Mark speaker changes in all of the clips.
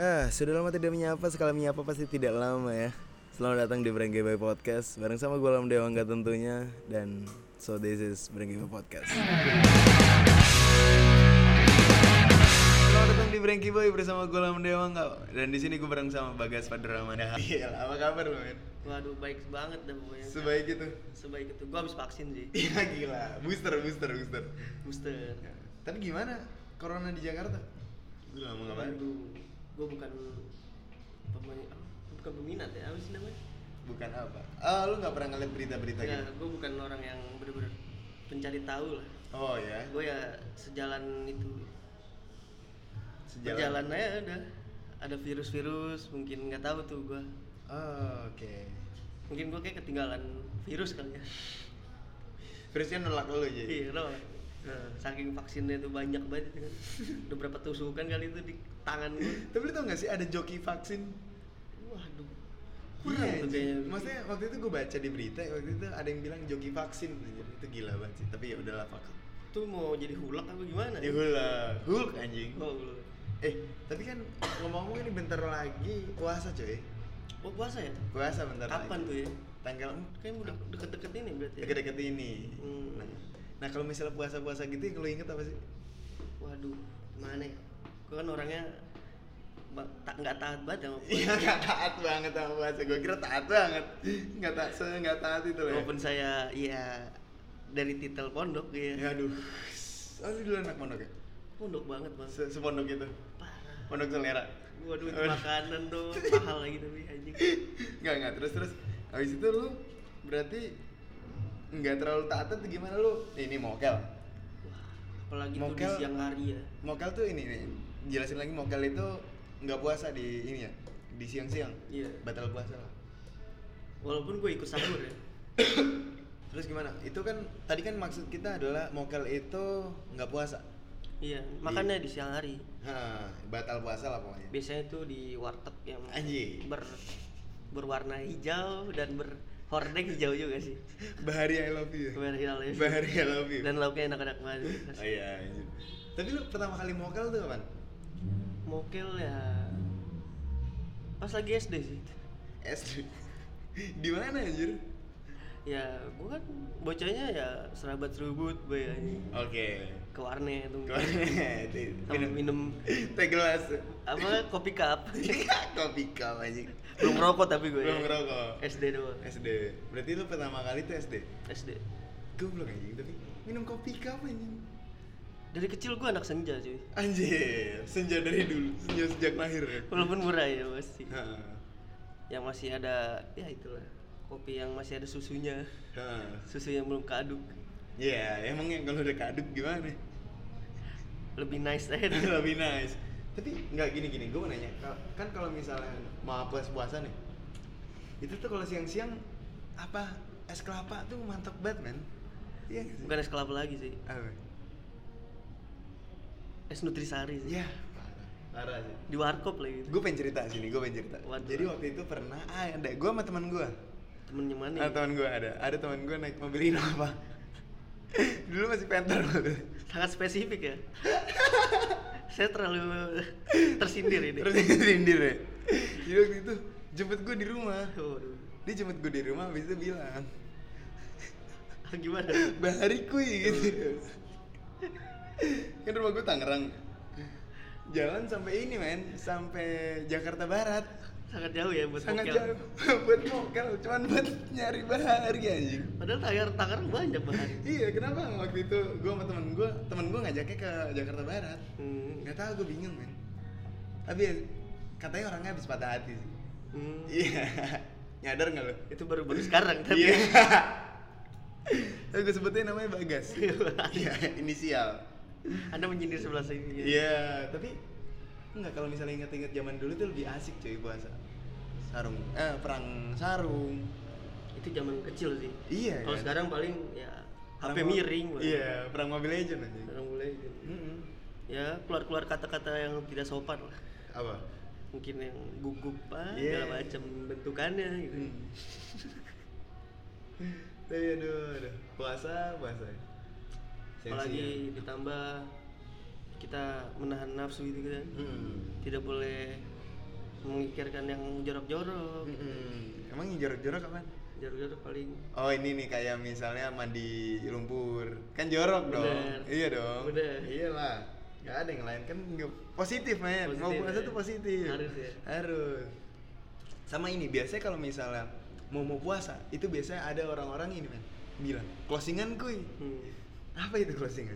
Speaker 1: Ah, sudah lama tidak menyapa, sekali menyapa pasti tidak lama ya. Selamat datang di Brengge Boy Podcast bareng sama gue Lam Dewangga tentunya dan so this is Brengge Boy Podcast. Selamat datang di Brengge Boy bersama gue Lam Dewangga dan di sini gue bareng sama Bagas Padraman. Iya, apa kabar lu, men?
Speaker 2: Waduh, baik banget dah pokoknya.
Speaker 1: Sebaik itu.
Speaker 2: Sebaik itu. Gua habis vaksin sih.
Speaker 1: Iya gila, booster, booster, booster.
Speaker 2: Booster.
Speaker 1: Tapi gimana corona di Jakarta? Gue lama
Speaker 2: Waduh, gua bukan pemain apa? bukan peminat ya, apa sih namanya?
Speaker 1: Bukan apa? Ah, lu nggak pernah ngeliat berita-berita
Speaker 2: Enggak, gua bukan orang yang bener-bener pencari tahu lah.
Speaker 1: Oh ya.
Speaker 2: Gua ya sejalan itu.
Speaker 1: Sejalan.
Speaker 2: Sejalan aja udah. Ada virus-virus, mungkin nggak tahu tuh gua.
Speaker 1: Oh, Oke.
Speaker 2: Mungkin gua kayak ketinggalan virus kali ya.
Speaker 1: Virusnya nolak lo
Speaker 2: Iya,
Speaker 1: jadi.
Speaker 2: kenapa?
Speaker 1: Nah.
Speaker 2: Saking vaksinnya itu banyak banget itu kan. Udah berapa tusukan kali itu di tangan gua.
Speaker 1: Tapi lu tau gak sih ada joki vaksin?
Speaker 2: Waduh.
Speaker 1: Kurang
Speaker 2: Iya,
Speaker 1: tuh
Speaker 2: anjing.
Speaker 1: kayaknya. Maksudnya waktu itu gue baca di berita waktu itu ada yang bilang joki vaksin anjir. Itu gila banget sih. Tapi ya udahlah vaksin.
Speaker 2: Tuh mau jadi hulak apa gimana?
Speaker 1: Ya hulak. Hulk anjing.
Speaker 2: Oh, hulak.
Speaker 1: Eh, tapi kan ngomong-ngomong ini bentar lagi puasa coy.
Speaker 2: Oh, puasa ya?
Speaker 1: Puasa bentar lagi.
Speaker 2: Kapan tuh ya?
Speaker 1: Tanggal
Speaker 2: Kayaknya udah deket-deket ini berarti. ya?
Speaker 1: deket-deket ini.
Speaker 2: Hmm.
Speaker 1: Nah, nah kalau misalnya puasa-puasa gitu yang lu inget apa sih?
Speaker 2: Waduh, mana ya? Gue kan orangnya ba- tak nggak taat banget sama puasa.
Speaker 1: Iya gak taat banget sama puasa, gue kira taat banget Gak taat, saya gak taat itu loh ya
Speaker 2: Walaupun saya ya dari titel pondok
Speaker 1: Ya
Speaker 2: ya.
Speaker 1: aduh Oh lu dulu anak pondok ya?
Speaker 2: Pondok banget, Bang.
Speaker 1: Se Sepondok itu?
Speaker 2: Parah.
Speaker 1: Pondok selera?
Speaker 2: Waduh, itu
Speaker 1: Waduh.
Speaker 2: makanan dong. Mahal lagi tapi anjing.
Speaker 1: Enggak, enggak, terus terus Habis itu lu berarti nggak terlalu taat atau gimana lu? Ini mokel
Speaker 2: Wah, apalagi tuh di
Speaker 1: Mokel.
Speaker 2: siang hari ya.
Speaker 1: Mokel tuh ini nih Jelasin lagi mokel itu nggak puasa di ini ya? Di siang-siang?
Speaker 2: Iya.
Speaker 1: Batal puasa lah
Speaker 2: Walaupun gue ikut sahur ya.
Speaker 1: Terus gimana? Itu kan, tadi kan maksud kita adalah mokel itu nggak puasa
Speaker 2: Iya, makannya di siang hari.
Speaker 1: Hah, batal puasa lah pokoknya
Speaker 2: biasanya itu di warteg yang
Speaker 1: Anjing.
Speaker 2: ber berwarna hijau dan berhordeng hijau juga sih
Speaker 1: Bahari I love you.
Speaker 2: Bahari I love you.
Speaker 1: Bahari I love you.
Speaker 2: dan lauknya enak-enak banget
Speaker 1: oh iya. anjir. Tapi lu pertama kali mokel tuh kapan?
Speaker 2: mokel ya pas lagi SD sih
Speaker 1: SD. Di mana anjir?
Speaker 2: ya gua kan bocahnya ya serabat serubut bayangnya
Speaker 1: Oke.
Speaker 2: ke warnet tuh
Speaker 1: Gua-
Speaker 2: Sama minum
Speaker 1: teh gelas. Iya,
Speaker 2: apa kopi cup
Speaker 1: Kopi kau anjir.
Speaker 2: belum rokok tapi gue
Speaker 1: Belum ngerokok.
Speaker 2: SD doang
Speaker 1: SD. Berarti lu pertama kali tuh SD.
Speaker 2: SD
Speaker 1: Goblok anjing tapi minum kopi kau anjing.
Speaker 2: dari kecil gua anak senja cuy
Speaker 1: Anjir, senja dari dulu, senja sejak lahir ya.
Speaker 2: walaupun murah ya pasti
Speaker 1: Heeh.
Speaker 2: yang masih ada ya itulah kopi yang masih ada susunya
Speaker 1: Heeh.
Speaker 2: susu yang belum keaduk
Speaker 1: Ya, emang yang kalau udah kaduk gimana?
Speaker 2: lebih nice aja tuh.
Speaker 1: lebih nice tapi nggak gini gini gue mau nanya ka- kan kalau misalnya mau puas puasa nih itu tuh kalau siang siang apa es kelapa tuh mantap banget men iya nggak sih?
Speaker 2: bukan es kelapa lagi sih
Speaker 1: apa
Speaker 2: es nutrisari sih
Speaker 1: ya parah parah sih
Speaker 2: di warkop lagi itu
Speaker 1: gue pengen cerita sini gue pengen cerita
Speaker 2: Waduh.
Speaker 1: jadi waktu itu pernah ah, ada gue sama teman gue
Speaker 2: temennya mana
Speaker 1: ada
Speaker 2: ya?
Speaker 1: teman gue ada ada teman gue naik mobil Innova dulu masih Panther mobil
Speaker 2: sangat spesifik ya saya terlalu tersindir ini
Speaker 1: terus disindir ya jadi waktu itu jemput gue di rumah
Speaker 2: Waduh.
Speaker 1: dia jemput gue di rumah habis itu bilang
Speaker 2: gimana
Speaker 1: Bahari kuy gitu. kan rumah gue Tangerang. Jalan sampai ini men, sampai Jakarta Barat.
Speaker 2: sangat jauh ya buat
Speaker 1: Sangat
Speaker 2: mokel.
Speaker 1: jauh buat mokel, cuman buat nyari bahari anjing.
Speaker 2: padahal tangar tangar banyak bahan
Speaker 1: Iya, kenapa waktu itu gue sama temen gue, temen gue ngajaknya ke Jakarta Barat.
Speaker 2: hmm.
Speaker 1: Gak tau, gue bingung men. Tapi ya, katanya orangnya habis patah hati sih.
Speaker 2: Hmm.
Speaker 1: Iya, nyadar gak lo?
Speaker 2: itu baru baru sekarang tapi
Speaker 1: Iya. Tapi gue sebutnya namanya Bagas. Iya, inisial.
Speaker 2: anda menyindir sebelah sini
Speaker 1: Iya, tapi enggak kalau misalnya inget-inget zaman dulu tuh lebih asik cuy puasa. Sarung, eh perang sarung.
Speaker 2: itu zaman kecil sih
Speaker 1: Iya.
Speaker 2: kalau
Speaker 1: kan?
Speaker 2: Oh, sekarang paling ya
Speaker 1: Perang
Speaker 2: HP
Speaker 1: mo-
Speaker 2: miring Bang.
Speaker 1: Iya, perang Mobile Legend aja.
Speaker 2: Sekarang mulai gitu.
Speaker 1: Mm-mm.
Speaker 2: ya keluar-keluar kata-kata yang tidak sopan lah.
Speaker 1: Apa?
Speaker 2: Mungkin yang gugup ah,
Speaker 1: Iya.
Speaker 2: segala macam bentukannya gitu.
Speaker 1: Hmm. Tapi aduh, aduh. Puasa, puasa. Siang-siang.
Speaker 2: Apalagi ditambah kita menahan nafsu gitu kan.
Speaker 1: Hmm.
Speaker 2: Tidak boleh mengikirkan yang jorok-jorok
Speaker 1: Mm-mm. Emang yang jorok-jorok apaan?
Speaker 2: jorok-jorok paling
Speaker 1: Oh ini nih kayak misalnya mandi lumpur Kan jorok dong
Speaker 2: Bener.
Speaker 1: Iya dong
Speaker 2: Bener.
Speaker 1: Iyalah Gak ada yang lain kan nggak- positif men
Speaker 2: Positif,
Speaker 1: Mau puasa
Speaker 2: ya.
Speaker 1: tuh positif
Speaker 2: Harus ya.
Speaker 1: Harus Sama ini biasanya kalau misalnya mau mau puasa Itu biasanya ada orang-orang ini men Bilang closingan kuy
Speaker 2: hmm,
Speaker 1: Apa itu closingan?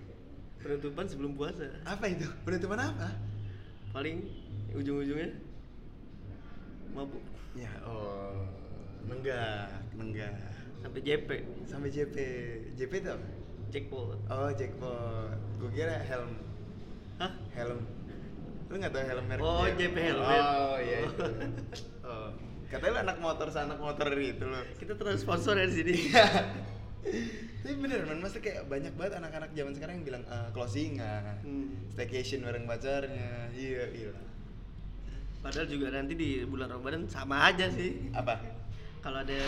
Speaker 2: penutupan sebelum puasa
Speaker 1: Apa itu? Penutupan apa?
Speaker 2: paling ujung-ujungnya mabuk
Speaker 1: Ya oh Nenggak Nenggak
Speaker 2: sampai JP
Speaker 1: Sampai JP JP itu apa?
Speaker 2: jackpot
Speaker 1: Oh jackpot Gue kira helm
Speaker 2: hah
Speaker 1: helm lu nggak tahu helm merek
Speaker 2: Oh,
Speaker 1: dia?
Speaker 2: JP helmet.
Speaker 1: oh iya
Speaker 2: Oh.
Speaker 1: itu. oh. katanya lu anak motor sana anak motor itu lo
Speaker 2: kita terus sponsor ya di sini
Speaker 1: Iya. tapi bener man masa kayak banyak banget anak-anak zaman sekarang yang bilang eh, closingan
Speaker 2: Hmm.
Speaker 1: staycation bareng pacarnya iya iya
Speaker 2: padahal juga nanti di bulan Ramadan sama aja sih
Speaker 1: apa
Speaker 2: kalau ada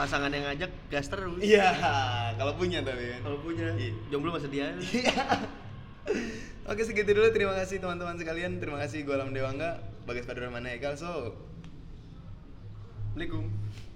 Speaker 2: pasangan yang ngajak gas terus
Speaker 1: iya kalau punya tapi kan
Speaker 2: kalau punya
Speaker 1: Iya.
Speaker 2: jomblo masih dia
Speaker 1: Iya. Oke segitu dulu terima kasih teman-teman sekalian terima kasih gue Alam Dewangga Bagas Padura Maneka so
Speaker 2: Assalamualaikum